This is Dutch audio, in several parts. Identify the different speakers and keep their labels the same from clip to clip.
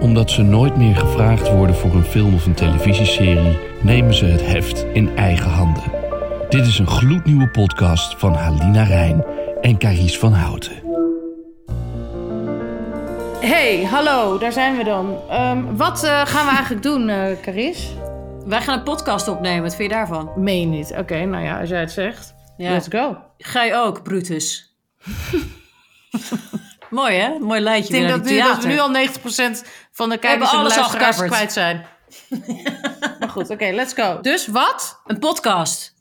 Speaker 1: Omdat ze nooit meer gevraagd worden voor een film of een televisieserie, nemen ze het heft in eigen handen. Dit is een gloednieuwe podcast van Halina Rijn en Carice van Houten.
Speaker 2: Hey, hallo, daar zijn we dan. Ehm, wat eh, gaan we eigenlijk doen, eh Caris?
Speaker 3: Wij gaan een podcast opnemen. Wat vind je daarvan?
Speaker 2: Meen je niet. Oké, nou ja, als jij het zegt.
Speaker 3: Ja.
Speaker 2: Let's go.
Speaker 3: Ga je ook, Brutus? Mooi, hè? Mooi
Speaker 2: Ik
Speaker 3: lijntje
Speaker 2: denk
Speaker 3: weer naar
Speaker 2: dat,
Speaker 3: die
Speaker 2: nu, dat
Speaker 3: theater.
Speaker 2: we nu al 90% van de kijkers en de
Speaker 3: alles al
Speaker 2: luisteraars
Speaker 3: gecoverd.
Speaker 2: kwijt zijn. maar goed, oké, let's go. Dus wat?
Speaker 3: Een podcast.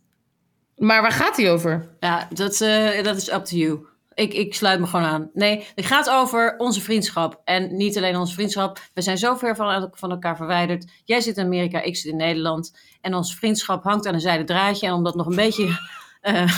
Speaker 2: Maar waar gaat die over?
Speaker 3: Ja, dat, eh, dat is up to you. Ik, ik sluit me gewoon aan. Nee, het gaat over onze vriendschap. En niet alleen onze vriendschap. We zijn zo ver van, van elkaar verwijderd. Jij zit in Amerika, ik zit in Nederland. En onze vriendschap hangt aan een zijden draadje. En om dat nog een beetje eh,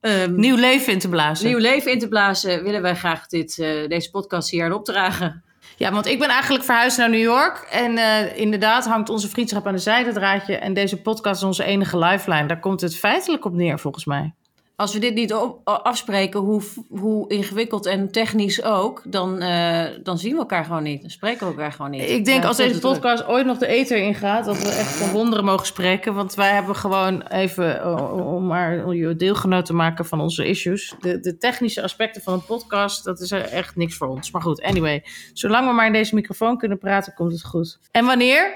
Speaker 3: ehm,
Speaker 2: Nieuw leven in te blazen.
Speaker 3: nieuw leven in te blazen... willen wij graag dit, eh, deze podcast hier aan opdragen.
Speaker 2: Ja, want ik ben eigenlijk verhuisd naar New York. En eh, inderdaad hangt onze vriendschap aan een zijdedraadje. En deze podcast is onze enige lifeline. Daar komt het feitelijk op neer, volgens mij.
Speaker 3: Als we dit niet op- afspreken, hoe, hoe ingewikkeld en technisch ook, dan, eh, dan zien we elkaar gewoon niet. Dan spreken we elkaar gewoon niet.
Speaker 2: Ik denk
Speaker 3: Ja,
Speaker 2: als
Speaker 3: dat
Speaker 2: deze
Speaker 3: is druk.
Speaker 2: podcast ooit nog de ether ingaat, dat we echt van wonderen mogen spreken. Want wij hebben gewoon even, eh, om maar je deelgenoot te maken van onze issues. De, de technische aspecten van een podcast, dat is echt niks voor ons. Maar goed, anyway. Zolang we maar in deze microfoon kunnen praten, komt het goed. En wanneer?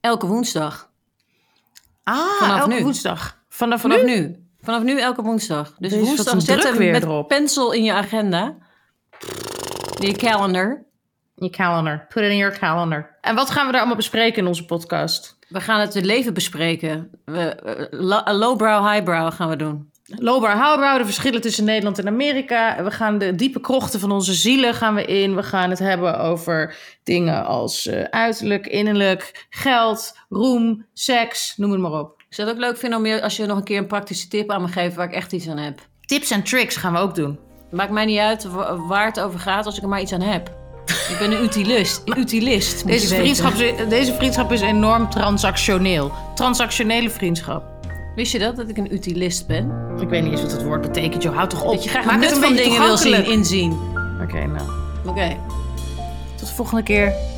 Speaker 3: Elke woensdag.
Speaker 2: Ah,
Speaker 3: Vanaf
Speaker 2: elke
Speaker 3: nu.
Speaker 2: woensdag. Vanaf,
Speaker 3: Vanaf
Speaker 2: nu?
Speaker 3: nu? Vanaf nu elke woensdag. Dus
Speaker 2: Jezus, wat een
Speaker 3: woensdag
Speaker 2: druk
Speaker 3: zet hem
Speaker 2: weer
Speaker 3: met
Speaker 2: erop.
Speaker 3: pencil in je agenda. In je calendar.
Speaker 2: Je calendar. Put it in your calendar. En wat gaan we daar allemaal bespreken in onze podcast?
Speaker 3: We gaan het leven bespreken. We, eh, la- lowbrow, highbrow gaan we doen.
Speaker 2: Lobar houdbouw, de verschillen tussen Nederland en Amerika. We gaan de diepe krochten van onze zielen gaan we in. We gaan het hebben over dingen als eh, uiterlijk, innerlijk, geld, roem, seks, noem het maar op.
Speaker 3: Ik zou het ook leuk vinden om je, als je nog een keer een praktische tip aan me geeft waar ik echt iets aan heb.
Speaker 2: Tips en tricks gaan we ook doen.
Speaker 3: Maakt mij niet uit wa- waar het over gaat als ik er maar iets aan heb. Ik ben een utilist. Een utilist moet
Speaker 2: Deze
Speaker 3: je weten.
Speaker 2: vriendschap, is- eh, deze vriendschap is enorm transactioneel. Transactionele vriendschap.
Speaker 3: Wist je dat, dat ik een utilist ben?
Speaker 2: Ik weet niet eens wat dat woord betekent, joh. Houd toch op.
Speaker 3: Dat je graag
Speaker 2: Maak
Speaker 3: het
Speaker 2: het
Speaker 3: nut
Speaker 2: een
Speaker 3: van
Speaker 2: beetje
Speaker 3: dingen wil zien,
Speaker 2: toegankelijk.
Speaker 3: inzien.
Speaker 2: Oké, nou.
Speaker 3: Oké.
Speaker 2: Tot de volgende keer.